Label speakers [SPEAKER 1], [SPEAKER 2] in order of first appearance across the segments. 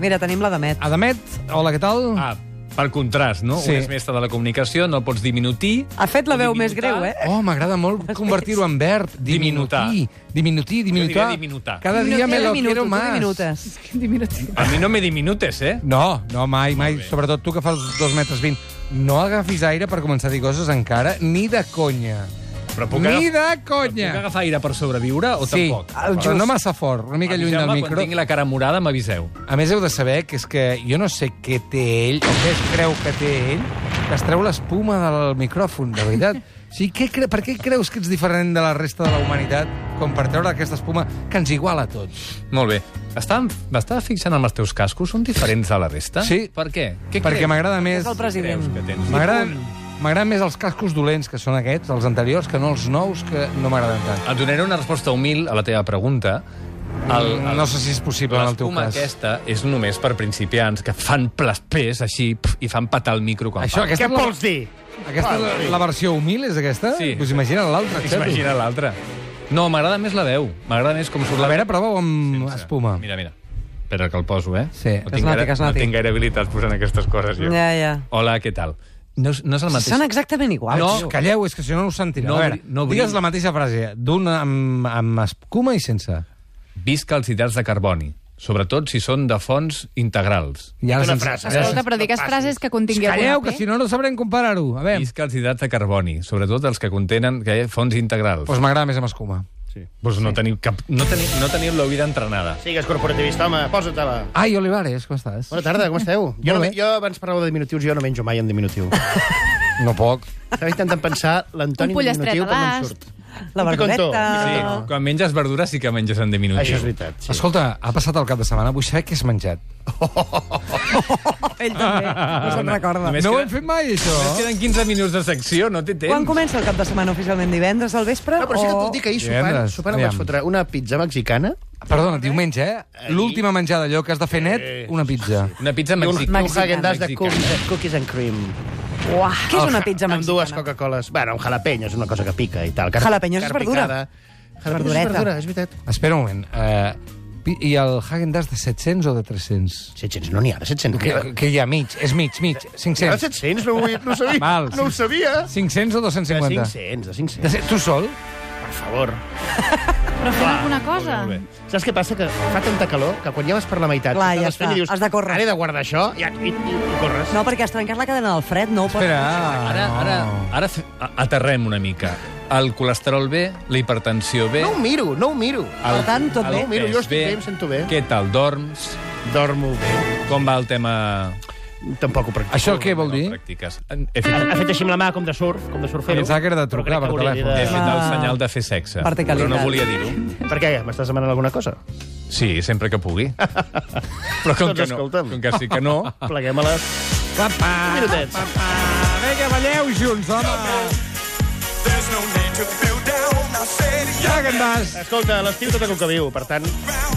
[SPEAKER 1] Mira, tenim la Demet.
[SPEAKER 2] Adamet, hola, què tal?
[SPEAKER 3] Ah, per contrast, no?
[SPEAKER 2] Sí.
[SPEAKER 3] Sí. Un és mestre de la comunicació, no el pots diminutir.
[SPEAKER 1] Ha fet la
[SPEAKER 3] O
[SPEAKER 1] veu més
[SPEAKER 3] diminutar.
[SPEAKER 1] greu, eh?
[SPEAKER 2] Oh, m'agrada molt convertir-ho en verb.
[SPEAKER 3] Diminutar.
[SPEAKER 2] Diminutir. Diminutir, diminutar.
[SPEAKER 3] diré diminutar.
[SPEAKER 2] Cada dia me
[SPEAKER 1] Diminuti,
[SPEAKER 2] lo
[SPEAKER 1] diminuto,
[SPEAKER 2] quiero
[SPEAKER 1] tu
[SPEAKER 2] más.
[SPEAKER 1] diminutes.
[SPEAKER 3] A mi no me diminutes, eh?
[SPEAKER 2] No, no, mai, mai.
[SPEAKER 3] bé.
[SPEAKER 2] Sobretot tu que fas dos metres vint. No agafis aire per començar a dir coses encara, ni de conya.
[SPEAKER 3] Però puc,
[SPEAKER 2] Ni
[SPEAKER 3] agafar,
[SPEAKER 2] de
[SPEAKER 3] puc
[SPEAKER 2] conya!
[SPEAKER 3] agafar aire per sobreviure o
[SPEAKER 2] Sí,
[SPEAKER 3] tampoc?
[SPEAKER 2] el just. no massa fort, una mica lluny del
[SPEAKER 3] Aviseu-me
[SPEAKER 2] micro.
[SPEAKER 3] Quan tingui la cara morada, m'aviseu.
[SPEAKER 2] A més, heu de saber que és que jo no sé què té ell, o què es creu que té ell, que es treu l'espuma del micròfon, de veritat. O sigui, què cre... per què creus que ets diferent de la resta de la humanitat com per treure aquesta espuma que ens iguala a tots?
[SPEAKER 3] Molt bé. Estava, m'estava fixant amb els teus cascos? Són diferents de la resta?
[SPEAKER 2] Sí.
[SPEAKER 3] Per què? Què
[SPEAKER 2] Perquè
[SPEAKER 3] creus?
[SPEAKER 2] m'agrada més...
[SPEAKER 1] És el
[SPEAKER 3] Què
[SPEAKER 1] president.
[SPEAKER 3] creus que tens?
[SPEAKER 2] M'agraden m'agraden més els cascos dolents, que són aquests, els anteriors, que no els nous, que no m'agraden tant.
[SPEAKER 3] Et donaré una resposta humil a la teva pregunta.
[SPEAKER 2] Mm, no sé si és possible en el teu
[SPEAKER 3] L'espuma
[SPEAKER 2] cas.
[SPEAKER 3] aquesta és només per principiants que fan plaspers així pf, i fan patar el micro quan
[SPEAKER 2] Això,
[SPEAKER 3] parlen.
[SPEAKER 2] aquesta,
[SPEAKER 4] Què
[SPEAKER 2] és la-
[SPEAKER 4] vols dir?
[SPEAKER 2] aquesta és la, la versió humil, és aquesta?
[SPEAKER 3] Sí.
[SPEAKER 2] Us imagina l'altra? xato?
[SPEAKER 3] Imagina l'altra. No, m'agrada més la veu. M'agrada més com surt
[SPEAKER 2] A
[SPEAKER 3] la
[SPEAKER 2] veure, prova-ho amb espuma.
[SPEAKER 3] Mira, mira. Espera que el poso, eh?
[SPEAKER 2] Sí.
[SPEAKER 3] No
[SPEAKER 1] Que es
[SPEAKER 3] tinc,
[SPEAKER 1] noti,
[SPEAKER 3] gaire,
[SPEAKER 1] que es
[SPEAKER 3] no
[SPEAKER 1] noti.
[SPEAKER 3] tinc gaire habilitat posant aquestes coses, jo.
[SPEAKER 1] Ja, ja.
[SPEAKER 3] Hola, què tal? No és, no és el
[SPEAKER 1] Si
[SPEAKER 3] mateix...
[SPEAKER 1] Són exactament iguals.
[SPEAKER 3] No,
[SPEAKER 2] Ets, Calleu, és que si no no us sentirà.
[SPEAKER 3] No
[SPEAKER 2] No, a veure,
[SPEAKER 3] obri- no
[SPEAKER 2] no
[SPEAKER 3] obri-
[SPEAKER 2] digues la mateixa frase, d'una amb, amb escuma i sense.
[SPEAKER 3] Visca els hidrats de carboni, sobretot si són de fonts integrals.
[SPEAKER 2] Ja la
[SPEAKER 4] Una
[SPEAKER 2] sense-
[SPEAKER 4] frase.
[SPEAKER 2] ja la
[SPEAKER 5] Escolta, però digues frases que contingueu
[SPEAKER 2] Calleu, que si no no sabrem comparar-ho. A veure,
[SPEAKER 3] Visca els hidrats de carboni, sobretot els que contenen que eh, fonts integrals.
[SPEAKER 2] doncs m'agrada més amb escuma.
[SPEAKER 3] Pues no teniu cap... No teniu, no teniu la vida entrenada.
[SPEAKER 4] Sigues corporativista, home, posa-te-la.
[SPEAKER 2] Ai, Olivares, com estàs?
[SPEAKER 4] Bona tarda, com esteu? Jo, no,
[SPEAKER 2] bé.
[SPEAKER 4] jo abans parlàveu de diminutius, jo no menjo mai en diminutiu.
[SPEAKER 2] No poc.
[SPEAKER 4] Estava intentant pensar l'antònim
[SPEAKER 5] Un
[SPEAKER 4] de
[SPEAKER 5] pollastret
[SPEAKER 4] diminutiu,
[SPEAKER 5] a
[SPEAKER 4] però no em
[SPEAKER 5] l'ast.
[SPEAKER 4] surt.
[SPEAKER 1] La
[SPEAKER 4] Un picantó.
[SPEAKER 1] barbeta...
[SPEAKER 2] Ah,
[SPEAKER 3] Sí, quan menges verdures sí que menges en diminutiu.
[SPEAKER 4] Això és veritat, sí.
[SPEAKER 2] Escolta, ha passat el cap de setmana, vull saber què has menjat.
[SPEAKER 1] Ell també, no se'n recorda.
[SPEAKER 3] Només
[SPEAKER 2] no ho
[SPEAKER 3] queda-
[SPEAKER 2] hem fet mai, això?
[SPEAKER 3] Només queden 15 minuts de secció, no té temps.
[SPEAKER 1] Quan comença el cap de setmana oficialment? Divendres, al vespre?
[SPEAKER 4] No, però sí que et puc dir que ahir sopant,
[SPEAKER 2] Divendres,
[SPEAKER 4] sopant em vaig
[SPEAKER 2] aviam.
[SPEAKER 4] fotre una pizza mexicana
[SPEAKER 2] Perdona, diumenge, eh? L'última menjada, allò que has de fer net, una pizza.
[SPEAKER 3] Una pizza
[SPEAKER 4] i un, i
[SPEAKER 3] mexicana.
[SPEAKER 4] un Häagen-Dazs de
[SPEAKER 3] Mexicana.
[SPEAKER 4] cookies, cookies and cream.
[SPEAKER 1] o... Uah, què és una pizza
[SPEAKER 4] Amb dues
[SPEAKER 1] mexicana?
[SPEAKER 4] Coca-Coles. Bueno, un jalapeño és una cosa que pica i tal. Car
[SPEAKER 1] Jalapeños és
[SPEAKER 4] carn
[SPEAKER 1] verdura.
[SPEAKER 4] picada. Jalapeños és
[SPEAKER 1] Verdureta.
[SPEAKER 4] verdura, és veritat.
[SPEAKER 2] Espera un moment. eh, pi- I el Häagen-Dazs de 700 o de 300?
[SPEAKER 4] 700 no n'hi ha, de 700.
[SPEAKER 2] Que,
[SPEAKER 4] Que,
[SPEAKER 2] que hi ha mig, és mig, mig. 500.
[SPEAKER 4] 700, no, ho, no ho sabia.
[SPEAKER 2] Val.
[SPEAKER 4] No ho sabia.
[SPEAKER 2] 500 o
[SPEAKER 4] De
[SPEAKER 2] 250?
[SPEAKER 4] 500, de
[SPEAKER 2] De
[SPEAKER 4] 500.
[SPEAKER 2] se- Tu sol?
[SPEAKER 4] Per favor.
[SPEAKER 5] Però fem alguna cosa.
[SPEAKER 3] Ah, Molt bé.
[SPEAKER 4] Saps què passa? Que fa tanta calor que quan ja vas per la meitat...
[SPEAKER 1] Clar,
[SPEAKER 4] i
[SPEAKER 1] ja
[SPEAKER 4] acabes fent
[SPEAKER 1] està.
[SPEAKER 4] i Dius,
[SPEAKER 1] Has de córrer.
[SPEAKER 4] Ara he de guardar això i, i, i, i corres.
[SPEAKER 1] No, perquè has trencat la cadena del fred, no ho pots...
[SPEAKER 2] Espera.
[SPEAKER 4] Ah.
[SPEAKER 3] Ara, ara, ara fe- a- aterrem una mica. El colesterol bé, la hipertensió bé...
[SPEAKER 4] no ho miro, no ho miro. Ah,
[SPEAKER 3] el-
[SPEAKER 1] Per tant, tot
[SPEAKER 3] el
[SPEAKER 1] bé.
[SPEAKER 3] pes
[SPEAKER 4] Miro, jo estic bé, em sento bé.
[SPEAKER 3] Què tal, dorms?
[SPEAKER 4] Dormo bé.
[SPEAKER 3] Com va el tema...
[SPEAKER 4] Tampoc ho practico.
[SPEAKER 2] Això què vol dir?
[SPEAKER 3] No practiques. He fet,
[SPEAKER 4] Ha fet així amb la mà, com de surf, com de surfero.
[SPEAKER 2] Pensava que era de trucar per
[SPEAKER 4] Però crec que
[SPEAKER 2] telèfon.
[SPEAKER 3] he
[SPEAKER 4] hauria
[SPEAKER 3] fet el senyal de fer sexe. Però
[SPEAKER 1] Verticalitat.
[SPEAKER 3] no volia dir-ho.
[SPEAKER 4] De... Per què? M'estàs demanant alguna cosa?
[SPEAKER 3] Sí, sempre que pugui. Però com
[SPEAKER 4] Doncs
[SPEAKER 3] que no,
[SPEAKER 4] escolta'm.
[SPEAKER 3] com que sí que no...
[SPEAKER 2] Ah.
[SPEAKER 4] Pleguem-la.
[SPEAKER 2] Papa!
[SPEAKER 4] Un minutet.
[SPEAKER 2] Papa! Vinga, balleu junts, home!
[SPEAKER 6] There's no need to feel down. I said, yeah.
[SPEAKER 2] Häagen-Dazs!
[SPEAKER 4] Escolta, l'estiu tot el que viu, per tant,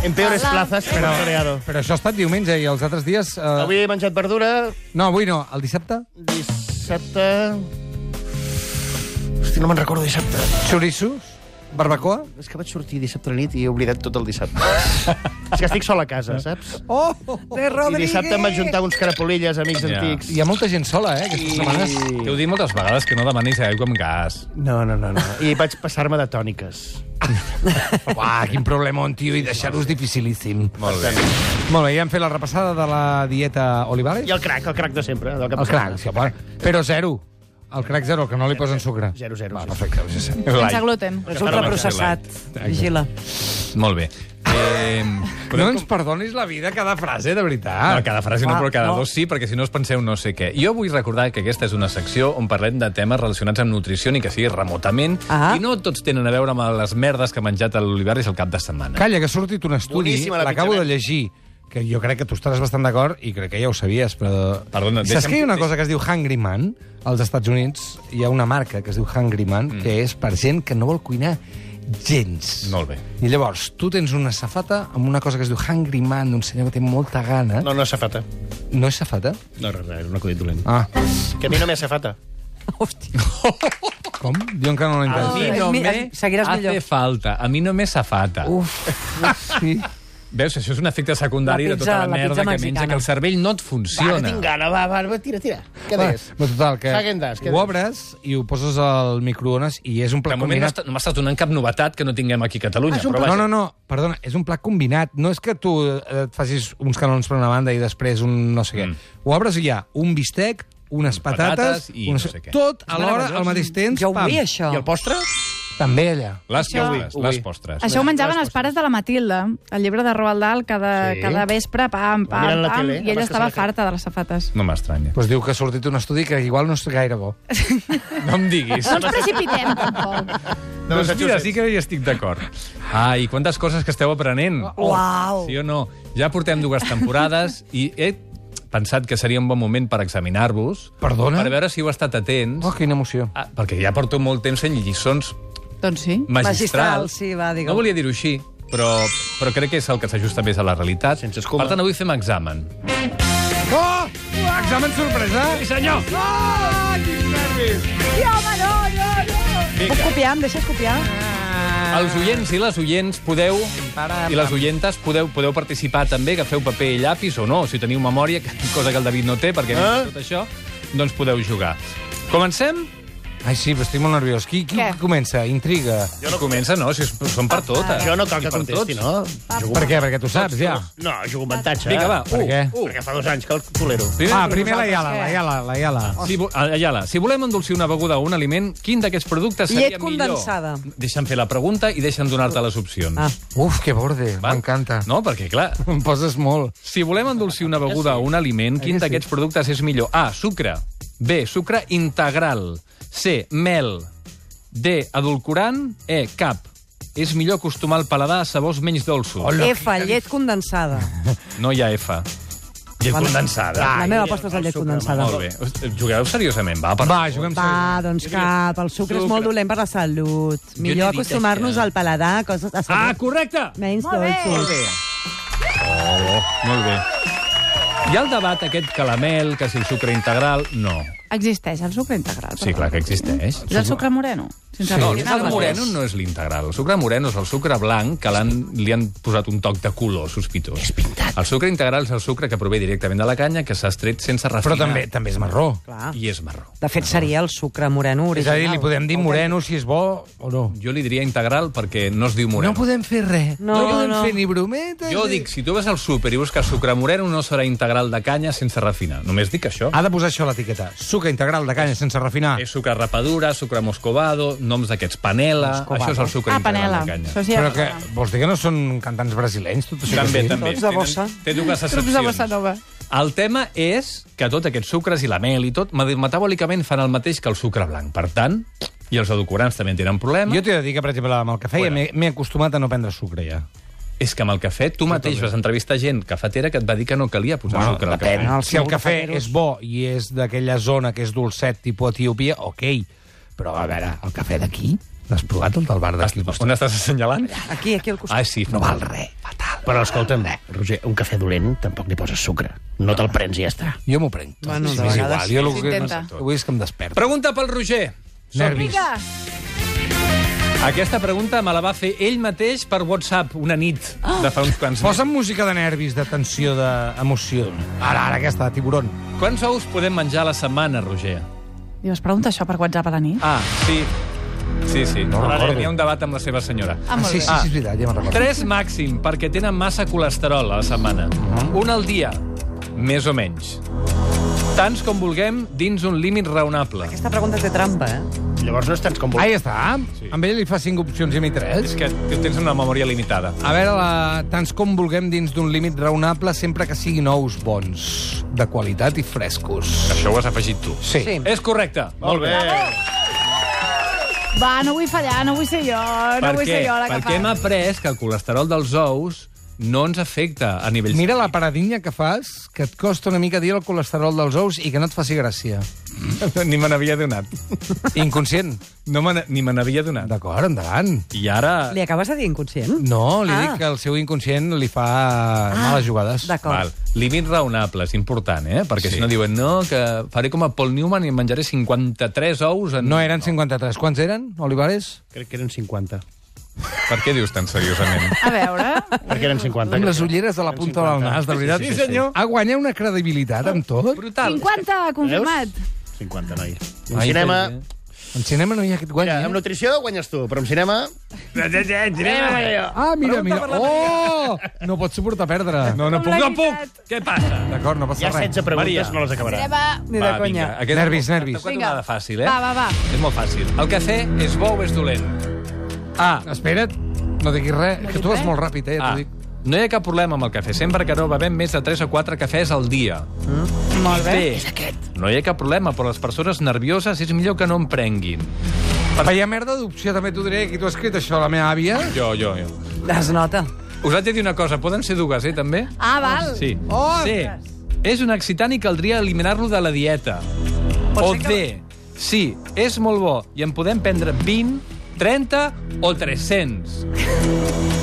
[SPEAKER 4] en peores
[SPEAKER 5] Hola.
[SPEAKER 4] plazas que no
[SPEAKER 2] Però això ha estat diumenge i els altres dies... Eh...
[SPEAKER 4] Avui he menjat verdura,
[SPEAKER 2] No, avui no, el dissabte?
[SPEAKER 4] dissabte... Hosti, no me'n recordo dissabte.
[SPEAKER 2] Xorissos? Barbacoa?
[SPEAKER 4] És que vaig sortir dissabte a la nit i he oblidat tot el dissabte. és que estic sol a casa, saps?
[SPEAKER 2] Oh! oh, oh.
[SPEAKER 1] De
[SPEAKER 4] I
[SPEAKER 1] Rodríguez!
[SPEAKER 4] dissabte em vaig juntar uns carapolilles, amics
[SPEAKER 3] Ja.
[SPEAKER 4] antics.
[SPEAKER 2] Hi ha molta gent sola, eh, aquestes setmanes.
[SPEAKER 3] T'heu dit moltes vegades que no demanis aigua amb gas.
[SPEAKER 4] No, no, no, no. I vaig passar-me de tòniques.
[SPEAKER 2] Uah, quin problema, on, tio, i deixar-los dificilíssim.
[SPEAKER 3] Molt bé.
[SPEAKER 2] Molt bé, ja hem fet la repassada de la dieta Olivares.
[SPEAKER 4] I el crac, el crac de sempre. Del cap
[SPEAKER 2] El crac, sí, home. Però zero. El crac zero, el que no li posen sucre.
[SPEAKER 4] Zero, zero.
[SPEAKER 2] Va,
[SPEAKER 4] sí.
[SPEAKER 2] perfecte, ja sé.
[SPEAKER 5] Sense gluten.
[SPEAKER 1] És
[SPEAKER 4] eh?
[SPEAKER 1] ultraprocessat. Vigila.
[SPEAKER 3] Molt bé. Eh,
[SPEAKER 2] No
[SPEAKER 3] podem
[SPEAKER 2] ens perdonis la vida cada frase, de
[SPEAKER 3] Ah,
[SPEAKER 2] veritat.
[SPEAKER 3] no, cada frase no,
[SPEAKER 1] clar,
[SPEAKER 3] però cada
[SPEAKER 1] no.
[SPEAKER 3] dos sí, perquè si no us penseu no sé què. Jo vull recordar que aquesta és una secció on parlem de temes relacionats amb nutrició, ni que sigui remotament,
[SPEAKER 1] Ah.
[SPEAKER 3] i no tots tenen a veure amb les merdes que ha menjat l'Olivaris el cap de setmana.
[SPEAKER 2] Calla, que ha sortit un estudi,
[SPEAKER 4] Boníssima la
[SPEAKER 2] l'acabo de
[SPEAKER 4] pitjament.
[SPEAKER 2] llegir, que jo crec que tu estaràs bastant d'acord i crec que ja ho sabies, però...
[SPEAKER 3] Perdona,
[SPEAKER 2] Saps
[SPEAKER 3] deixa'm-
[SPEAKER 2] que hi ha una cosa que es diu Hungry Man? Als Estats Units hi ha una marca que es diu Hungry Man, mm. que és per gent que no vol cuinar gens.
[SPEAKER 3] Molt bé.
[SPEAKER 2] I llavors, tu tens una safata amb una cosa que es diu Hungry Man, d'un senyor que té molta gana.
[SPEAKER 4] No, no és safata.
[SPEAKER 2] No és safata?
[SPEAKER 4] No, res, res, un acudit dolent.
[SPEAKER 2] Ah,
[SPEAKER 4] Que a mi no m'he safata.
[SPEAKER 1] Hòstia.
[SPEAKER 2] com? Jo encara no l'he
[SPEAKER 3] Ah,
[SPEAKER 2] entès.
[SPEAKER 3] A mi
[SPEAKER 1] és
[SPEAKER 3] no
[SPEAKER 1] mi-
[SPEAKER 3] me
[SPEAKER 1] seguiràs
[SPEAKER 3] hace
[SPEAKER 1] millor.
[SPEAKER 3] falta, a mi no me safata.
[SPEAKER 2] Uf, sí.
[SPEAKER 3] Veus, això és un efecte secundari
[SPEAKER 1] La
[SPEAKER 3] de tota la
[SPEAKER 1] pizza- la
[SPEAKER 3] merda
[SPEAKER 1] pizza
[SPEAKER 3] que menja,
[SPEAKER 1] mexicana.
[SPEAKER 3] que el cervell no et
[SPEAKER 4] Va, que
[SPEAKER 3] funciona.
[SPEAKER 4] tinc gana, va, va, va, tira, tira. Què
[SPEAKER 2] Va,
[SPEAKER 4] deies?
[SPEAKER 2] va, doncs total, que
[SPEAKER 4] Hagen Dazs, què
[SPEAKER 2] ho
[SPEAKER 4] dius?
[SPEAKER 2] obres i ho poses al microones i és un
[SPEAKER 3] De
[SPEAKER 2] plat
[SPEAKER 3] moment no,
[SPEAKER 2] combinat...
[SPEAKER 3] està, no m'estàs donant cap novetat que no tinguem aquí a Catalunya.
[SPEAKER 4] Ah, és un
[SPEAKER 3] però
[SPEAKER 2] No,
[SPEAKER 3] vaja.
[SPEAKER 2] no, no, perdona, és un plat combinat. No és que tu eh, et facis uns canons per una banda i després un no sé què.
[SPEAKER 3] Mm.
[SPEAKER 2] Ho obres i hi ha un bistec, unes patates...
[SPEAKER 3] patates i no sé què.
[SPEAKER 2] Tot alhora, al mateix temps,
[SPEAKER 1] Jo ho
[SPEAKER 2] pam.
[SPEAKER 1] vull, això.
[SPEAKER 4] I el postre?
[SPEAKER 2] També allà.
[SPEAKER 3] Les
[SPEAKER 5] Això-
[SPEAKER 3] postres,
[SPEAKER 4] Ui, ui.
[SPEAKER 3] les postres.
[SPEAKER 5] Això ho menjaven els pares de la Matilda, el llibre de Roald Dahl, cada,
[SPEAKER 4] Sí.
[SPEAKER 5] cada vespre, pam, pam,
[SPEAKER 4] Mirant la
[SPEAKER 5] pam,
[SPEAKER 4] tele,
[SPEAKER 5] i
[SPEAKER 4] abans que
[SPEAKER 5] ella
[SPEAKER 4] se
[SPEAKER 5] estava
[SPEAKER 4] la quedi.
[SPEAKER 5] farta de les safates.
[SPEAKER 3] No m'estranya.
[SPEAKER 2] Pues Doncs diu que ha sortit un estudi que igual no és gaire bo.
[SPEAKER 3] No em diguis.
[SPEAKER 5] No ens Doncs precipitem, tampoc.
[SPEAKER 3] doncs mira, sí que hi estic d'acord. Ai, quantes coses que esteu aprenent. Oh,
[SPEAKER 1] Uau.
[SPEAKER 3] Sí o no? Ja portem dues temporades i he pensat que seria un bon moment per examinar-vos.
[SPEAKER 2] Perdona?
[SPEAKER 3] Per veure si heu estat atents.
[SPEAKER 2] Eh? Oh, quina emoció.
[SPEAKER 3] Ah, perquè ja porto molt temps fent lliçons
[SPEAKER 5] Doncs sí.
[SPEAKER 1] Magistral,
[SPEAKER 3] magistrals.
[SPEAKER 1] sí, va, digue'm.
[SPEAKER 3] no volia dir-ho així, però, però crec que és el que s'ajusta més a la realitat.
[SPEAKER 4] Sense escuma.
[SPEAKER 3] Per tant, avui fem examen.
[SPEAKER 2] Oh!
[SPEAKER 3] Ah!
[SPEAKER 2] Examen sorpresa! Sí, senyor! Oh! Quins nervis!
[SPEAKER 1] Puc copiar? Em deixes copiar?
[SPEAKER 3] Els oients i les oients podeu... I les oientes podeu, podeu participar també, que feu paper i llapis o no, si teniu memòria, que- cosa que el David no té, perquè eh? tot això, doncs podeu jugar. Comencem?
[SPEAKER 2] Ai, sí, però estic molt nerviós. Qui, qui
[SPEAKER 5] Què?
[SPEAKER 2] comença? Intriga.
[SPEAKER 3] Jo no Comença, no, si és- són per eh? totes.
[SPEAKER 4] Jo no cal
[SPEAKER 3] I
[SPEAKER 4] que
[SPEAKER 3] per
[SPEAKER 4] contesti,
[SPEAKER 3] tots.
[SPEAKER 4] no?
[SPEAKER 2] Per què? Perquè tu saps, ja.
[SPEAKER 4] No, jugo amb avantatge. Uh.
[SPEAKER 3] Vinga, va,
[SPEAKER 2] Per
[SPEAKER 3] u,
[SPEAKER 2] què?
[SPEAKER 3] u.
[SPEAKER 4] Perquè fa dos anys que el tolero.
[SPEAKER 3] Primer,
[SPEAKER 2] Ah,
[SPEAKER 3] per
[SPEAKER 2] primer la
[SPEAKER 3] nosaltres.
[SPEAKER 2] Iala, la Iala, la Iala.
[SPEAKER 3] Si, vo- Ayala, si volem endolcir una beguda o un aliment, quin d'aquests productes seria
[SPEAKER 1] Llet
[SPEAKER 3] millor?
[SPEAKER 1] condensada.
[SPEAKER 3] Deixa'm fer la pregunta i deixa'm donar-te les opcions.
[SPEAKER 1] Ah.
[SPEAKER 2] Uf, que borde,
[SPEAKER 3] Va?
[SPEAKER 2] m'encanta.
[SPEAKER 3] No, perquè, clar,
[SPEAKER 2] Em poses molt.
[SPEAKER 3] si volem endolcir una beguda o un aliment, quin d'aquests productes és millor? A, sucre. B, sucre integral. C, mel. D, edulcorant. E, cap. És millor acostumar el paladar a sabors menys dolços.
[SPEAKER 2] Hola.
[SPEAKER 1] F, llet condensada.
[SPEAKER 3] No hi ha F. Llet condensada.
[SPEAKER 1] La meva aposta és la llet condensada.
[SPEAKER 3] Molt bé. Jugueu seriosament, va. Per...
[SPEAKER 2] Va, juguem
[SPEAKER 1] Va, doncs cap. El sucre és molt dolent per la salut. Millor
[SPEAKER 3] dit
[SPEAKER 1] acostumar-nos
[SPEAKER 3] això.
[SPEAKER 1] al paladar a coses a
[SPEAKER 3] Ah,
[SPEAKER 1] salut
[SPEAKER 3] correcte!
[SPEAKER 1] menys dolços.
[SPEAKER 3] Molt bé. Hi ha el debat aquest que la mel, que si el sucre integral... No.
[SPEAKER 5] Existeix el sucre integral.
[SPEAKER 3] Sí, clar que existeix.
[SPEAKER 5] És el sucre moreno? Sense
[SPEAKER 3] No, el
[SPEAKER 5] refinar
[SPEAKER 3] sucre
[SPEAKER 5] el
[SPEAKER 3] moreno no és l'integral. El sucre moreno és el sucre blanc que l'han- li han posat un toc de color sospitós. És pintat. El sucre integral és el sucre que prové directament de la canya, que s'ha estret sense refinar.
[SPEAKER 2] Però també també és marró.
[SPEAKER 1] Clar.
[SPEAKER 3] I és marró.
[SPEAKER 1] De fet, seria el sucre moreno
[SPEAKER 2] És a
[SPEAKER 1] original.
[SPEAKER 2] dir, li podem dir moreno si és bo o no.
[SPEAKER 3] Jo li diria integral perquè no es diu moreno.
[SPEAKER 2] podem fer res.
[SPEAKER 1] No, no.
[SPEAKER 2] ni brometes.
[SPEAKER 3] Jo
[SPEAKER 2] ni-
[SPEAKER 3] dic, si tu vas al súper i busques sucre moreno, no serà integral de canya sense refinar. Només dic això.
[SPEAKER 5] Ah.
[SPEAKER 2] Ha de posar això a l'etiqueta. Suca integral de canya sense refinar.
[SPEAKER 3] És sucre rapadura, sucre moscovado, noms d'aquests, panela...
[SPEAKER 1] Moscovado.
[SPEAKER 3] Això és el sucre
[SPEAKER 5] Ah,
[SPEAKER 3] integral
[SPEAKER 5] panela.
[SPEAKER 3] de canya.
[SPEAKER 5] Això sí, eh?
[SPEAKER 2] Però que, vols dir que no són cantants brasilenys? Tot això que
[SPEAKER 3] També,
[SPEAKER 2] sí?
[SPEAKER 3] també.
[SPEAKER 1] Tots de
[SPEAKER 3] Tenen-
[SPEAKER 1] bossa.
[SPEAKER 3] Té dues
[SPEAKER 5] Trucs de bossa
[SPEAKER 3] excepcions.
[SPEAKER 5] nova.
[SPEAKER 3] El tema és que tots aquests sucres i la mel i tot mede- metabòlicament fan el mateix que el sucre blanc. Per tant, i els edulcorants també en tenen problema.
[SPEAKER 2] Jo t'he de dir que, per exemple, amb el cafè ja
[SPEAKER 3] Bueno.
[SPEAKER 2] m'he m'he acostumat a no prendre sucre, ja.
[SPEAKER 3] És que amb el cafè tu mateix vas entrevistar gent cafetera que et va dir que no calia posar
[SPEAKER 2] Ah,
[SPEAKER 3] sucre al
[SPEAKER 2] depèn.
[SPEAKER 3] cafè.
[SPEAKER 1] cafè.
[SPEAKER 2] Si el cafè
[SPEAKER 1] Els
[SPEAKER 2] és bo i és d'aquella zona que és dolcet, tipus Etiòpia, ok. Però, a veure, el cafè d'aquí, l'has provat, el del bar d'aquí? al costat?
[SPEAKER 3] On estàs assenyalant?
[SPEAKER 1] Aquí, aquí al costat.
[SPEAKER 3] Ah, sí.
[SPEAKER 4] No val res, fatal. Però escolta'm, Roger, un cafè dolent tampoc n'hi poses sucre. No te'l prens i ja està.
[SPEAKER 2] Jo m'ho prenc. tot.
[SPEAKER 1] Bueno, de
[SPEAKER 2] M'és
[SPEAKER 1] vegades
[SPEAKER 2] igual, jo el que,
[SPEAKER 5] s'intenta.
[SPEAKER 2] el que vull és que em desperti.
[SPEAKER 3] Pregunta pel Roger.
[SPEAKER 2] Nervis.
[SPEAKER 5] Vinga!
[SPEAKER 3] Aquesta pregunta me la va fer ell mateix per WhatsApp una nit de fa uns quants mesos.
[SPEAKER 2] Posa'm música de nervis, de tensió, d'emoció. Ara, ara, aquesta, tiburon.
[SPEAKER 3] Quants ous podem menjar a la setmana, Roger?
[SPEAKER 5] Diu, es pregunta això per WhatsApp a la nit?
[SPEAKER 3] Ah, sí. Sí, sí. No
[SPEAKER 2] recordo.
[SPEAKER 3] Tenia un debat amb la seva senyora.
[SPEAKER 5] Ah, molt
[SPEAKER 2] sí,
[SPEAKER 5] bé.
[SPEAKER 2] sí, sí, és veritat, ja me'n recordo.
[SPEAKER 3] 3 màxim, perquè tenen massa colesterol a la setmana.
[SPEAKER 2] Mhm.
[SPEAKER 3] Un al dia, més o menys. Tants com vulguem, dins un límit raonable.
[SPEAKER 1] Aquesta pregunta té trampa, eh?
[SPEAKER 4] Llavors no és tant com
[SPEAKER 2] Ah,
[SPEAKER 4] vulguis.
[SPEAKER 2] ja està.
[SPEAKER 3] Sí.
[SPEAKER 2] Amb ell li fa cinc opcions i a mi
[SPEAKER 3] És
[SPEAKER 2] tres.
[SPEAKER 3] que tu tens una memòria limitada.
[SPEAKER 2] A veure, la... tants com vulguem dins d'un límit raonable, sempre que siguin ous bons, de qualitat i frescos.
[SPEAKER 3] Això ho has afegit tu.
[SPEAKER 2] Sí.
[SPEAKER 1] Sí.
[SPEAKER 3] És correcte.
[SPEAKER 4] Molt bé.
[SPEAKER 5] Va, no vull fallar, no vull ser jo, no vull ser jo la que
[SPEAKER 3] Perquè hem
[SPEAKER 5] fa.
[SPEAKER 3] après que el colesterol dels ous no ens afecta a nivell...
[SPEAKER 2] Mira la paradinya que fas, que et costa una mica dir el colesterol dels ous i que no et faci gràcia.
[SPEAKER 3] Ni me n'havia donat.
[SPEAKER 2] Inconscient.
[SPEAKER 3] No me, ni me n'havia donat.
[SPEAKER 2] D'acord, endavant.
[SPEAKER 3] I ara...
[SPEAKER 1] Li acabes de dir inconscient?
[SPEAKER 2] No, li ah.
[SPEAKER 1] Ah.
[SPEAKER 2] dic que el seu inconscient li fa males jugades.
[SPEAKER 1] D'acord.
[SPEAKER 3] Límits raonables, important, eh? Perquè sí. si no diuen, no, que faré com a Paul Newman i em menjaré 53 ous en...
[SPEAKER 2] No eren 53. Quants eren, Olivares?
[SPEAKER 4] Crec que eren 50.
[SPEAKER 3] Per què dius tan seriosament?
[SPEAKER 5] A veure...
[SPEAKER 4] Perquè eren 50.
[SPEAKER 2] Amb les
[SPEAKER 4] crec.
[SPEAKER 2] ulleres de la
[SPEAKER 4] Eren
[SPEAKER 2] punta del
[SPEAKER 4] 50.
[SPEAKER 2] nas, de veritat.
[SPEAKER 4] Sí, sí, sí, sí.
[SPEAKER 2] Ha guanyat una credibilitat amb tot.
[SPEAKER 3] Brutal.
[SPEAKER 5] 50, confirmat.
[SPEAKER 4] 50, noi. En
[SPEAKER 3] Ai,
[SPEAKER 4] cinema...
[SPEAKER 3] que bé.
[SPEAKER 2] En cinema no hi ha aquest guany.
[SPEAKER 4] Mira, amb
[SPEAKER 2] eh?
[SPEAKER 4] nutrició guanyes tu, però amb cinema...
[SPEAKER 3] Eh,
[SPEAKER 2] Ah, mira, mira. Oh! No pots suportar perdre.
[SPEAKER 3] No, no
[SPEAKER 5] Com
[SPEAKER 3] puc,
[SPEAKER 5] la
[SPEAKER 3] no puc!
[SPEAKER 5] veritat.
[SPEAKER 3] Què passa?
[SPEAKER 2] D'acord, no passa
[SPEAKER 4] Hi ha
[SPEAKER 2] res.
[SPEAKER 4] 16 preguntes,
[SPEAKER 3] Maria.
[SPEAKER 4] no les acabarà.
[SPEAKER 5] Va,
[SPEAKER 1] Ni de conya.
[SPEAKER 3] Vinga, aquest
[SPEAKER 2] Nervis,
[SPEAKER 3] és molt-
[SPEAKER 2] nervis.
[SPEAKER 3] Una
[SPEAKER 5] Vinga.
[SPEAKER 3] tonada fàcil, eh?
[SPEAKER 5] va, va, va.
[SPEAKER 3] És molt fàcil. El cafè és bo o és dolent? A.
[SPEAKER 2] Ah, Espera't, no diguis res, que tu vas molt ràpid, eh, ja
[SPEAKER 3] A.
[SPEAKER 2] t'ho dic.
[SPEAKER 3] Ah. No hi ha cap problema amb el cafè, sempre que no bevem més de 3 o 4 cafès al dia.
[SPEAKER 5] Molt bé.
[SPEAKER 3] B. No hi ha cap problema, però les persones nervioses és millor que no en prenguin.
[SPEAKER 2] Per hi ha merda d'opció, també t'ho diré, que tu has escrit això, la meva àvia.
[SPEAKER 3] Jo, jo, jo.
[SPEAKER 1] Es nota.
[SPEAKER 3] Us haig de dir una cosa, poden ser dues, eh, també?
[SPEAKER 5] Ah, val.
[SPEAKER 3] Sí.
[SPEAKER 2] Oh,
[SPEAKER 3] C. És un excitant i caldria eliminar-lo de la dieta. o D. Sí, és molt bo i en podem prendre 20, 30 o 300.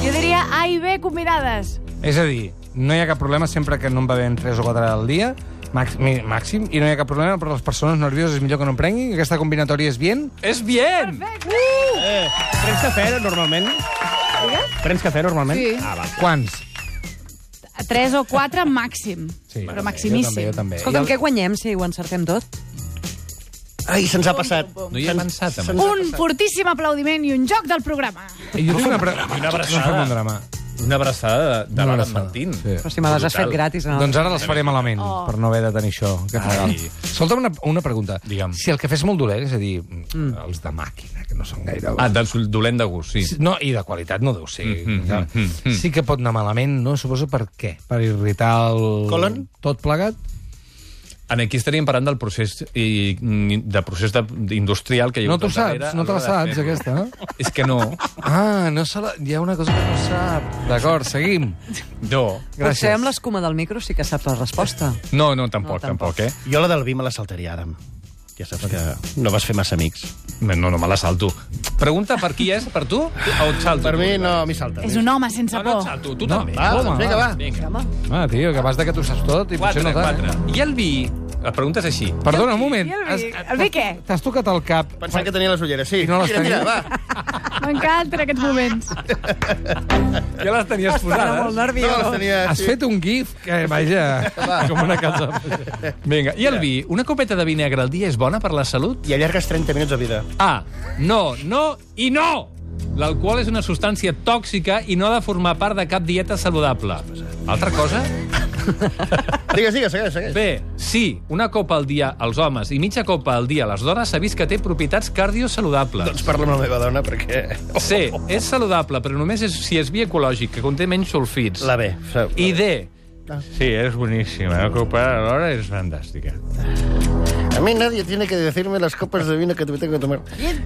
[SPEAKER 5] Jo diria A i B combinades.
[SPEAKER 2] És a dir, no hi ha cap problema sempre que no en bevem 3 o 4 al dia, màx- mi- màxim, i no hi ha cap problema, però les persones nervioses és millor que no en prenguin, que aquesta combinatòria és bien.
[SPEAKER 3] És bien!
[SPEAKER 5] Uh!
[SPEAKER 4] Eh, prens cafè, normalment? Prens cafè, normalment?
[SPEAKER 5] Sí.
[SPEAKER 4] Ah, va.
[SPEAKER 2] Quants?
[SPEAKER 5] Tres o quatre màxim.
[SPEAKER 2] Sí,
[SPEAKER 5] però
[SPEAKER 2] jo
[SPEAKER 5] maximíssim.
[SPEAKER 2] també, jo també.
[SPEAKER 1] Escolta'm, què guanyem si ho encertem tot?
[SPEAKER 4] Ai, se'ns ha passat.
[SPEAKER 3] No hi he pensat, amb
[SPEAKER 4] se'ns-
[SPEAKER 5] Un fortíssim aplaudiment i un joc del programa.
[SPEAKER 2] I Jo tinc una, pre... una
[SPEAKER 3] abraçada.
[SPEAKER 2] No fem un drama.
[SPEAKER 3] Una abraçada de, de
[SPEAKER 2] Una
[SPEAKER 3] l'Alan
[SPEAKER 2] abraçada,
[SPEAKER 3] Martín.
[SPEAKER 2] sí.
[SPEAKER 1] Però si me les has fet
[SPEAKER 3] Brutal.
[SPEAKER 1] gratis. No?
[SPEAKER 2] Doncs ara les faré malament, oh. per no haver de tenir això. Que
[SPEAKER 3] Ai.
[SPEAKER 2] Escolta'm una, una pregunta.
[SPEAKER 3] Digue'm.
[SPEAKER 2] Si el cafè és molt dolent, és a dir, mm. els de màquina, que no són gaire...
[SPEAKER 3] Ah, de, dolent de gust, sí.
[SPEAKER 2] No, i de qualitat no deu ser.
[SPEAKER 3] Mhm,
[SPEAKER 2] Clar.
[SPEAKER 3] mhm, mhm.
[SPEAKER 2] Sí que pot anar malament, no? Suposo per què? Per irritar el...
[SPEAKER 4] Colon?
[SPEAKER 2] Tot plegat?
[SPEAKER 3] En aquí estaríem parlant del procés i, mm, de procés de, industrial que hi ha
[SPEAKER 2] No
[SPEAKER 3] hagut
[SPEAKER 2] t'ho
[SPEAKER 3] al darrere
[SPEAKER 2] saps, no te la
[SPEAKER 3] a l'hora tota de
[SPEAKER 2] saps,
[SPEAKER 3] fer-ho.
[SPEAKER 2] aquesta, no?
[SPEAKER 3] És que no.
[SPEAKER 2] Ah, no se la... hi ha una cosa que no sap. D'acord, seguim.
[SPEAKER 3] No.
[SPEAKER 1] Potser
[SPEAKER 2] Gràcies.
[SPEAKER 1] amb l'escuma del micro sí que saps la resposta.
[SPEAKER 3] No, no, tampoc,
[SPEAKER 1] No,
[SPEAKER 3] no,
[SPEAKER 1] tampoc.
[SPEAKER 3] tampoc, eh?
[SPEAKER 4] Jo la del vi me la saltaria, Adam. Ja saps que no vas fer massa amics.
[SPEAKER 3] No, no, me la salto. Pregunta per qui és, per tu o et salto?
[SPEAKER 4] Per mi, no, m'hi salta.
[SPEAKER 5] És un home sense
[SPEAKER 3] No, no et
[SPEAKER 5] por.
[SPEAKER 3] salto, tu
[SPEAKER 2] No,
[SPEAKER 3] també.
[SPEAKER 4] Va,
[SPEAKER 2] Home,
[SPEAKER 4] doncs vinga, va.
[SPEAKER 3] Vinga.
[SPEAKER 2] Ah, tio, que vas de que tu saps tot i potser
[SPEAKER 3] Quatre,
[SPEAKER 2] no tant.
[SPEAKER 3] quatre. I el vi? La pregunta és així.
[SPEAKER 2] Perdona, un moment.
[SPEAKER 5] I el vi?
[SPEAKER 2] Has-
[SPEAKER 5] El vi què?
[SPEAKER 2] T'has tocat el cap.
[SPEAKER 4] Pensant que tenia les ulleres, sí.
[SPEAKER 2] I no les
[SPEAKER 4] mira, mira,
[SPEAKER 2] tenia.
[SPEAKER 4] va.
[SPEAKER 5] M'encanten aquests moments.
[SPEAKER 3] Ja les tenies
[SPEAKER 2] eh?
[SPEAKER 3] posades.
[SPEAKER 4] No les tenia...
[SPEAKER 2] Has
[SPEAKER 4] sí.
[SPEAKER 2] fet un gif que, vaja, com una casa...
[SPEAKER 3] Vinga, i el vi? Una copeta de vi negre al dia és bona per la salut?
[SPEAKER 4] I allargues 30 minuts de vida.
[SPEAKER 3] A. No, no i no! L'alcohol és una substància tòxica i no ha de formar part de cap dieta saludable. Altra cosa?
[SPEAKER 4] Digues, digues, segueix, segueix.
[SPEAKER 3] B. Sí, una copa al dia als homes i mitja copa al dia a les dones s'ha vist que té propietats cardiosaludables.
[SPEAKER 4] Doncs parla amb la meva dona, perquè...
[SPEAKER 3] C. És saludable, però només és, si és via ecològic, que conté menys sulfits.
[SPEAKER 4] La Ah. B.
[SPEAKER 3] I D.
[SPEAKER 7] Sí, es buenísima. La copa ahora es fantástica.
[SPEAKER 4] A mí nadie tiene que decirme las copas de vino que me tengo que tomar.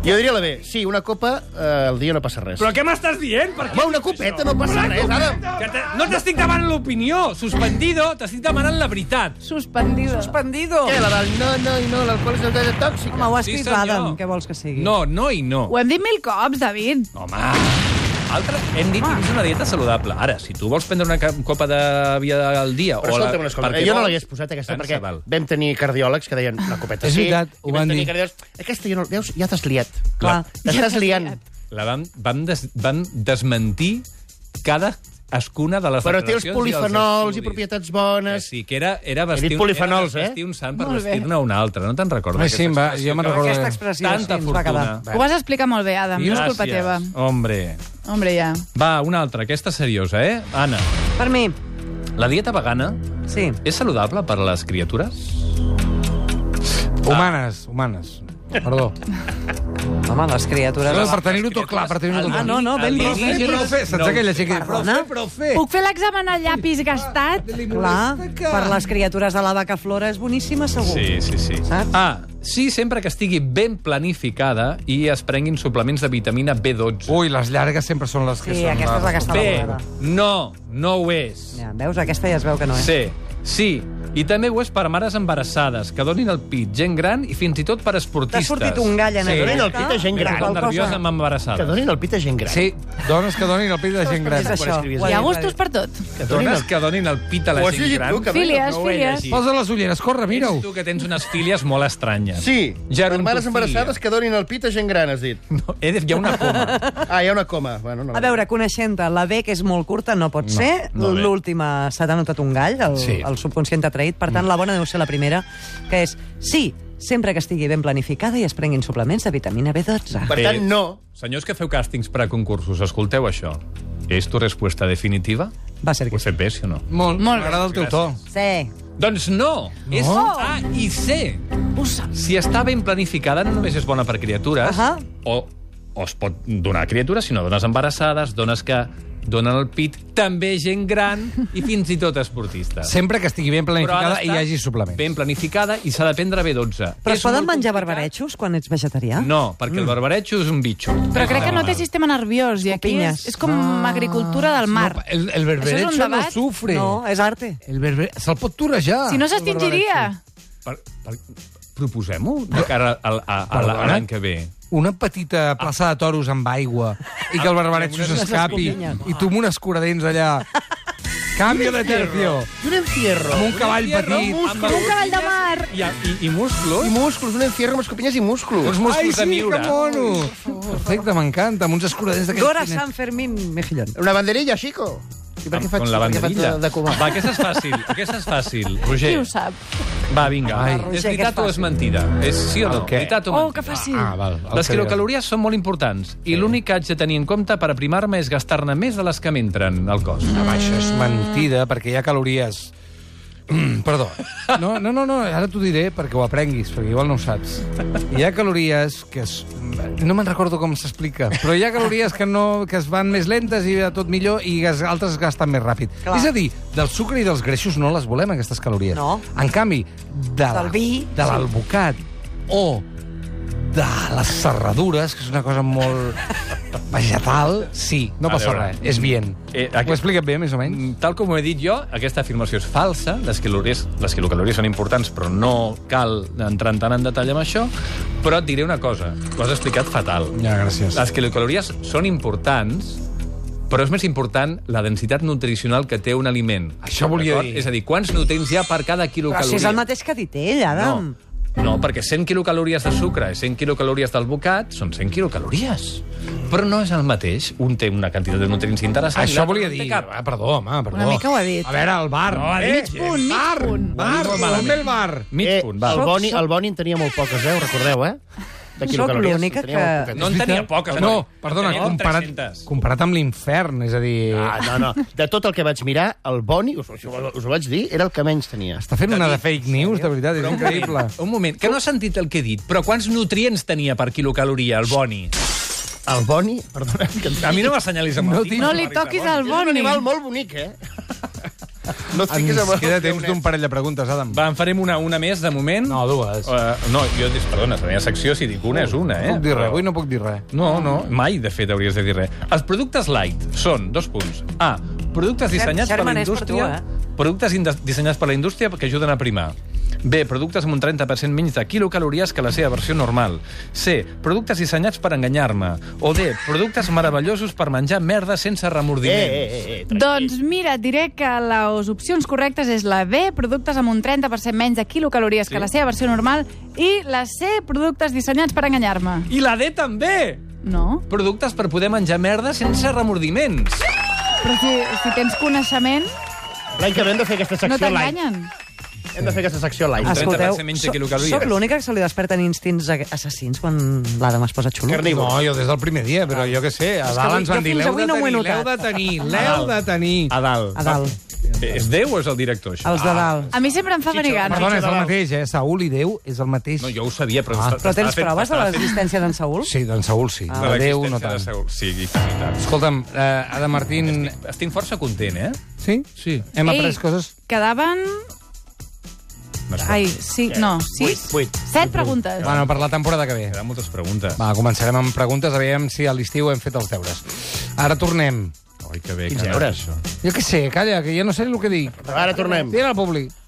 [SPEAKER 4] Jo diria la B. Sí, una copa eh, al dia no passa res.
[SPEAKER 3] Però què m'estàs dient? Per què?
[SPEAKER 4] Va, una copeta, no passa res, ara.
[SPEAKER 3] Que te... No t'estic demanant l'opinió, suspendido, t'estic demanant la veritat.
[SPEAKER 5] Suspendido.
[SPEAKER 1] Suspendido!
[SPEAKER 4] Què, la del no, no i no, l'alcohol és una cosa tòxica?
[SPEAKER 1] Home, ho has
[SPEAKER 3] Sí,
[SPEAKER 1] escrit
[SPEAKER 3] senyor.
[SPEAKER 1] l'Adam, què vols que sigui?
[SPEAKER 3] No, no i no.
[SPEAKER 5] Ho hem dit mil cops, David.
[SPEAKER 3] Home, altre, hem dit que és una dieta saludable. Ara, si tu vols prendre una ca- copa de via al dia...
[SPEAKER 4] Però
[SPEAKER 3] o la-
[SPEAKER 4] escolta'm una cosa,
[SPEAKER 3] perquè
[SPEAKER 4] jo no
[SPEAKER 3] vols-
[SPEAKER 4] l'hagués posat aquesta
[SPEAKER 3] Pensa,
[SPEAKER 4] perquè
[SPEAKER 3] val.
[SPEAKER 4] vam tenir cardiòlegs que deien una copeta
[SPEAKER 2] És
[SPEAKER 4] sí,
[SPEAKER 2] veritat, ho
[SPEAKER 4] i
[SPEAKER 2] van
[SPEAKER 4] vam tenir
[SPEAKER 2] dir.
[SPEAKER 4] cardiòlegs, aquesta jo no, veus, ja t'has liat.
[SPEAKER 1] Clar.
[SPEAKER 4] T'estàs liant.
[SPEAKER 3] La vam, vam, des, vam desmentir cada escuna de les
[SPEAKER 4] Però té
[SPEAKER 3] declaracions
[SPEAKER 4] els
[SPEAKER 3] i
[SPEAKER 4] polifenols i
[SPEAKER 3] estudis.
[SPEAKER 4] propietats
[SPEAKER 3] Que
[SPEAKER 4] bones.
[SPEAKER 3] sí, que era, era vestir,
[SPEAKER 4] dit
[SPEAKER 3] un-
[SPEAKER 4] polifenols,
[SPEAKER 3] era
[SPEAKER 4] eh?
[SPEAKER 3] vestir un sant per
[SPEAKER 5] Molt bé.
[SPEAKER 3] vestir-ne un altre. No te'n recordes?
[SPEAKER 2] Home, sí, em va, jo me'n recordo.
[SPEAKER 1] Aquesta expressió
[SPEAKER 3] Tanta
[SPEAKER 1] sí, ens va
[SPEAKER 3] fortuna.
[SPEAKER 1] quedar.
[SPEAKER 5] Ho vas explicar molt bé, Adam. No és culpa
[SPEAKER 3] Gràcies,
[SPEAKER 5] teva.
[SPEAKER 3] Hombre.
[SPEAKER 5] Hombre, ja.
[SPEAKER 3] Va, una altra. Aquesta seriosa, eh? Anna,
[SPEAKER 1] Per mi,
[SPEAKER 3] la dieta vegana
[SPEAKER 1] sí.
[SPEAKER 3] és saludable per a les criatures?
[SPEAKER 2] Humanes, humanes. Perdó.
[SPEAKER 1] Home, les criatures...
[SPEAKER 2] No, per tenir-ho tot clar, per tenir-ho tot clar.
[SPEAKER 1] Ah, no, no, ben
[SPEAKER 3] El
[SPEAKER 1] dit.
[SPEAKER 3] nini-
[SPEAKER 1] Sí,
[SPEAKER 2] profe, saps aquella xica?
[SPEAKER 1] Perdona?
[SPEAKER 2] profe.
[SPEAKER 5] Puc fer l'examen al llapis gastat?
[SPEAKER 1] Clar, per les criatures de la vaca flora és boníssima, segur.
[SPEAKER 3] Sí, sí, sí.
[SPEAKER 1] Saps?
[SPEAKER 3] Ah, sí, sempre que estigui ben planificada i es prenguin suplements de vitamina B12.
[SPEAKER 2] Ui, les llargues sempre són les que
[SPEAKER 1] Sí,
[SPEAKER 2] són...
[SPEAKER 4] Ah,
[SPEAKER 1] aquesta és la que està
[SPEAKER 3] B,
[SPEAKER 1] valorada.
[SPEAKER 3] no, no ho és.
[SPEAKER 1] Ja, veus? Aquesta ja es veu que no és.
[SPEAKER 3] C, sí, I també ho és per mares embarassades, que donin el pit, gent gran i fins i tot per
[SPEAKER 1] T'ha
[SPEAKER 3] esportistes.
[SPEAKER 1] sortit un gall en
[SPEAKER 2] Sí.
[SPEAKER 1] sí.
[SPEAKER 4] Donin el pit a gent
[SPEAKER 3] Gran,
[SPEAKER 4] gran.
[SPEAKER 3] nerviós amb
[SPEAKER 4] Que
[SPEAKER 3] embarassades.
[SPEAKER 4] donin el pit a gent gran.
[SPEAKER 2] Sí, dones que donin el pit de gent gran.
[SPEAKER 1] És això.
[SPEAKER 4] escrivies.
[SPEAKER 1] Ho
[SPEAKER 5] Hi ha
[SPEAKER 1] dit,
[SPEAKER 5] gustos
[SPEAKER 1] va dir.
[SPEAKER 5] per tot.
[SPEAKER 4] Que donin
[SPEAKER 3] Dones
[SPEAKER 4] el...
[SPEAKER 3] que donin el pit a la
[SPEAKER 4] Ho has
[SPEAKER 3] gent
[SPEAKER 4] llegit
[SPEAKER 3] gran.
[SPEAKER 4] tu, que
[SPEAKER 5] Filies,
[SPEAKER 4] no ho he
[SPEAKER 5] filies.
[SPEAKER 4] llegit.
[SPEAKER 2] Posa les ulleres, corre, mira-ho.
[SPEAKER 3] Ets tu que tens unes filies molt estranyes.
[SPEAKER 4] Sí, per
[SPEAKER 3] Gerontofília.
[SPEAKER 4] mares embarassades que donin el pit a gent gran, has dit.
[SPEAKER 3] No, he de- hi ha una coma.
[SPEAKER 4] Ah, hi ha una coma. Bueno, no.
[SPEAKER 1] A veure, coneixent-te, la B, que és molt curta, no pot ser.
[SPEAKER 3] no bé.
[SPEAKER 1] L'última s'ha denotat un gall, el,
[SPEAKER 2] Sí.
[SPEAKER 1] sí. el subconscient ha traït. Per tant, la bona deu ser la primera, que és sí, sempre que estigui ben planificada i es prenguin suplements de vitamina B12.
[SPEAKER 4] Per tant, no.
[SPEAKER 3] Senyors que feu càstings per a concursos, escolteu això. És tu resposta definitiva?
[SPEAKER 1] Va ser
[SPEAKER 3] Ho
[SPEAKER 1] que
[SPEAKER 3] he
[SPEAKER 1] sí.
[SPEAKER 3] fet bé, sí o no?
[SPEAKER 2] Molt,
[SPEAKER 5] Molt bé.
[SPEAKER 2] m'agrada el teu to.
[SPEAKER 1] Sí.
[SPEAKER 3] Doncs no! És A i C. Si està ben planificada, no només és bona per criatures,
[SPEAKER 1] Ahà.
[SPEAKER 3] o, o es pot donar a criatures, sinó a dones embarassades, dones que donen el pit, també gent gran i fins i tot esportistes.
[SPEAKER 2] Sempre que estigui ben
[SPEAKER 3] Però ha
[SPEAKER 2] planificada
[SPEAKER 3] d'estar
[SPEAKER 2] i hi hagi suplements.
[SPEAKER 3] Ben planificada i s'ha de prendre B12.
[SPEAKER 1] Però es
[SPEAKER 3] És
[SPEAKER 1] poden
[SPEAKER 3] molt
[SPEAKER 1] menjar eh?
[SPEAKER 3] complicat.
[SPEAKER 1] barbarejos quan ets vegetarià?
[SPEAKER 3] No, perquè el barbaretxo és un bitxo.
[SPEAKER 5] Però crec que no té sistema nerviós i aquí
[SPEAKER 1] Escopinyes.
[SPEAKER 5] és, és com agricultura del mar.
[SPEAKER 2] No, el, el
[SPEAKER 5] Això és
[SPEAKER 2] berberecho
[SPEAKER 5] un
[SPEAKER 2] no
[SPEAKER 5] debat?
[SPEAKER 2] sufre.
[SPEAKER 1] No, és arte.
[SPEAKER 2] El berber... Se'l pot torejar.
[SPEAKER 5] Si no
[SPEAKER 2] el berberecho.
[SPEAKER 5] s'extingiria.
[SPEAKER 3] Per, per, Proposem-ho de cara al- a- a la- a l'any que ve.
[SPEAKER 2] Una petita plaça de toros amb aigua i que el barbaretxo s'escapi i tu amb un escuradents allà. Canvia de tercio.
[SPEAKER 4] I un encierro.
[SPEAKER 2] Amb un cavall petit.
[SPEAKER 3] Amb un cavall de mar. I, i, i
[SPEAKER 4] I
[SPEAKER 3] musclos.
[SPEAKER 4] músculs, un encierro amb escopinyes i músculs.
[SPEAKER 3] Uns musclos
[SPEAKER 2] Ai,
[SPEAKER 3] de
[SPEAKER 2] sí,
[SPEAKER 3] miura.
[SPEAKER 2] que mono. Perfecte, m'encanta. Amb uns escuradents d'aquests...
[SPEAKER 1] Gora
[SPEAKER 2] finets.
[SPEAKER 1] San Fermín Mejillón.
[SPEAKER 4] Una banderilla, xico. I per què
[SPEAKER 3] Amb-
[SPEAKER 4] faig,
[SPEAKER 3] amb la
[SPEAKER 4] per què faig
[SPEAKER 3] banderilla.
[SPEAKER 4] de, de coma?
[SPEAKER 3] Va, aquesta és fàcil, aquesta és fàcil. Roger,
[SPEAKER 5] Qui ho sap?
[SPEAKER 3] va, vinga.
[SPEAKER 2] Ai.
[SPEAKER 3] és
[SPEAKER 1] Roger,
[SPEAKER 3] veritat
[SPEAKER 1] que és
[SPEAKER 3] o és Ah, mentida? És sí o no?
[SPEAKER 2] El què?
[SPEAKER 3] Veritat o
[SPEAKER 5] Oh,
[SPEAKER 3] mentida?
[SPEAKER 5] que fàcil.
[SPEAKER 2] Ah, val. el que
[SPEAKER 3] Les
[SPEAKER 2] digues.
[SPEAKER 3] quilocalories són molt importants i l'únic que haig de tenir en compte per aprimar-me és gastar-ne més de les que m'entren al cos.
[SPEAKER 2] Home, això és mentida, perquè hi ha calories... Mm, perdó. No, no, no, no ara t'ho diré perquè ho aprenguis, perquè igual no ho saps. Hi ha calories que... Es... No me'n recordo com s'explica, però hi ha calories que, no, que es van més lentes i de tot millor i es, altres es gasten més ràpid.
[SPEAKER 1] Clar.
[SPEAKER 2] És a dir, del sucre i dels greixos no les volem, aquestes calories.
[SPEAKER 1] No.
[SPEAKER 2] En canvi, de la-
[SPEAKER 1] Del vi,
[SPEAKER 2] de l'albocat o de les serradures, que és una cosa molt vegetal, sí, no
[SPEAKER 3] A
[SPEAKER 2] passa
[SPEAKER 3] veure.
[SPEAKER 2] res, és bien. Ho
[SPEAKER 3] Eh,
[SPEAKER 2] he
[SPEAKER 3] aquest-
[SPEAKER 2] explicat bé, més o menys?
[SPEAKER 3] Mm, Tal com ho he dit jo, aquesta afirmació és falsa. Les quilocalories, les quilocalories són importants, però no cal entrar tant en detall amb això. Però et diré una cosa, ho has explicat fatal.
[SPEAKER 2] Ja, gràcies.
[SPEAKER 3] Les quilocalories són importants, però és més important la densitat nutricional que té un aliment.
[SPEAKER 2] Això volia
[SPEAKER 3] D'acord?
[SPEAKER 2] dir.
[SPEAKER 3] És a dir, quants nutrients hi ha per cada
[SPEAKER 1] Però
[SPEAKER 3] quilocaloria.
[SPEAKER 1] si és el mateix que ha dit ell, Adam.
[SPEAKER 3] No. No, perquè 100 quilocalories de sucre i 100 quilocalories del bocat són 100 quilocalories. Però no és el mateix. Un té una quantitat de nutrients interessant.
[SPEAKER 2] Això
[SPEAKER 3] l'altre
[SPEAKER 2] volia
[SPEAKER 3] no en té
[SPEAKER 2] dir...
[SPEAKER 3] cap.
[SPEAKER 2] Ah, perdó, home, perdó.
[SPEAKER 5] Una mica ho ha dit.
[SPEAKER 2] A veure, el bar. No,
[SPEAKER 3] ha
[SPEAKER 2] eh,
[SPEAKER 3] dit,
[SPEAKER 2] bar,
[SPEAKER 5] Punt, mig
[SPEAKER 2] bar,
[SPEAKER 5] punt.
[SPEAKER 2] bar,
[SPEAKER 3] Molt malament.
[SPEAKER 2] on ve el bar?
[SPEAKER 3] Mig
[SPEAKER 4] Eh,
[SPEAKER 3] punt, va.
[SPEAKER 4] el, Boni, el Boni en tenia molt poques, eh? Ho recordeu, eh? De
[SPEAKER 1] Sóc
[SPEAKER 4] quilocalories,
[SPEAKER 1] l'única
[SPEAKER 4] en tenia molt
[SPEAKER 1] que-
[SPEAKER 4] poquetes.
[SPEAKER 3] No en tenia poques.
[SPEAKER 2] No,
[SPEAKER 3] Eloi.
[SPEAKER 2] perdona,
[SPEAKER 3] Tenia
[SPEAKER 2] comparat,
[SPEAKER 3] 300.
[SPEAKER 2] comparat amb l'infern, és a dir...
[SPEAKER 4] Ah, no, no. De tot el que vaig mirar, el Boni, us, us, ho- us ho vaig dir, era el que menys tenia.
[SPEAKER 2] Està fent una de fake news, de veritat, és increïble.
[SPEAKER 3] Un moment, que no has sentit el que he dit, però quants nutrients tenia per quilocaloria el boni?
[SPEAKER 4] El Boni, perdona, que
[SPEAKER 3] A mi no m'assenyalis amb
[SPEAKER 2] No
[SPEAKER 3] el
[SPEAKER 2] tinc-
[SPEAKER 3] dit.
[SPEAKER 5] No li toquis al
[SPEAKER 4] és un
[SPEAKER 5] boni.
[SPEAKER 4] animal molt bonic, eh? No et fiquis amb
[SPEAKER 2] Ens
[SPEAKER 4] el
[SPEAKER 2] queda
[SPEAKER 4] teu
[SPEAKER 2] temps
[SPEAKER 4] net.
[SPEAKER 2] d'un parell de preguntes, Adam.
[SPEAKER 3] Va, en farem una, una més, de moment.
[SPEAKER 2] No, dues.
[SPEAKER 3] Uh, no, jo, dis- perdona, se la secció, si dic una és una, eh?
[SPEAKER 2] No puc dir res, avui no puc dir res.
[SPEAKER 3] No, no, mai, de fet, hauries de dir res. Els productes light són, dos punts. A, productes dissenyats per
[SPEAKER 1] Sherman
[SPEAKER 3] la
[SPEAKER 1] és per
[SPEAKER 3] indústria...
[SPEAKER 1] tu, eh?
[SPEAKER 3] Productes indes- dissenyats per la indústria que ajuden a primar. B, productes amb un 30% menys de quilocalories que la seva versió normal. C, productes dissenyats per enganyar-me. O D, productes meravellosos per menjar merda sense
[SPEAKER 4] Eh,
[SPEAKER 3] remordiments.
[SPEAKER 4] eh, eh, eh.
[SPEAKER 5] Doncs mira, et diré que les opcions correctes és la B, productes amb un 30% menys de quilocalories sí. que la seva versió normal, i la C, productes dissenyats per enganyar-me.
[SPEAKER 3] I la D també!
[SPEAKER 5] No?
[SPEAKER 3] Productes per poder menjar merda sense remordiments.
[SPEAKER 5] Però si, si tens coneixement,
[SPEAKER 4] L'any que ve hem de fer aquesta
[SPEAKER 5] no
[SPEAKER 4] secció light.
[SPEAKER 5] t'enganyen.
[SPEAKER 4] Hem de fer aquesta secció light.
[SPEAKER 3] Es- 30%
[SPEAKER 1] Escolteu,
[SPEAKER 3] menys de
[SPEAKER 1] so-
[SPEAKER 3] quilocalories.
[SPEAKER 1] sóc l'única que se li desperten instints ag- assassins quan l'Adam es posa xulo.
[SPEAKER 4] Carnívor.
[SPEAKER 2] No, jo des del primer dia, però jo què sé, a
[SPEAKER 1] És que
[SPEAKER 2] dalt
[SPEAKER 1] avui-
[SPEAKER 2] ens van
[SPEAKER 1] jo
[SPEAKER 2] dir
[SPEAKER 1] fins
[SPEAKER 2] l'heu
[SPEAKER 1] avui
[SPEAKER 2] de
[SPEAKER 1] no ho he
[SPEAKER 2] tenir, l'heu de
[SPEAKER 1] notat."
[SPEAKER 2] tenir, l'eu de tenir.
[SPEAKER 3] A dalt.
[SPEAKER 1] A dalt,
[SPEAKER 3] Eh, És Déu o és el director, això? Ah.
[SPEAKER 1] els de dalt.
[SPEAKER 5] A mi sempre em fa venir gana.
[SPEAKER 2] Perdona, és el mateix, eh? Saül i Déu és el mateix.
[SPEAKER 3] No, jo ho sabia, però...
[SPEAKER 2] Ah.
[SPEAKER 3] t'estava
[SPEAKER 1] Però tens
[SPEAKER 3] fent-
[SPEAKER 1] proves de
[SPEAKER 3] t'estava fent-
[SPEAKER 1] l'existència d'en Saül?
[SPEAKER 2] Sí, d'en Saül sí.
[SPEAKER 3] de
[SPEAKER 2] Ah, de Déu no
[SPEAKER 3] l'existència
[SPEAKER 2] tant.
[SPEAKER 3] de Saül. Sí, i tant, i tant.
[SPEAKER 2] Escolta'm, eh, Ada Martín...
[SPEAKER 3] Estic força content, eh?
[SPEAKER 2] Sí? Sí. Hem
[SPEAKER 5] Ei.
[SPEAKER 2] après coses...
[SPEAKER 5] Quedaven... Ai, sí, no, sis?
[SPEAKER 4] Vuit, vuit.
[SPEAKER 5] Set preguntes.
[SPEAKER 2] Bueno, per la temporada que ve.
[SPEAKER 3] Quedan moltes preguntes.
[SPEAKER 2] Va, començarem amb preguntes, aviam si a l'estiu hem fet els deures. Ara tornem.
[SPEAKER 3] Ai, que bé.
[SPEAKER 4] Quins
[SPEAKER 3] que
[SPEAKER 4] deures?
[SPEAKER 3] això.
[SPEAKER 2] Jo què sé, calla, que ja no sé el que dic.
[SPEAKER 4] Ara tornem.
[SPEAKER 2] Digue'l al públic.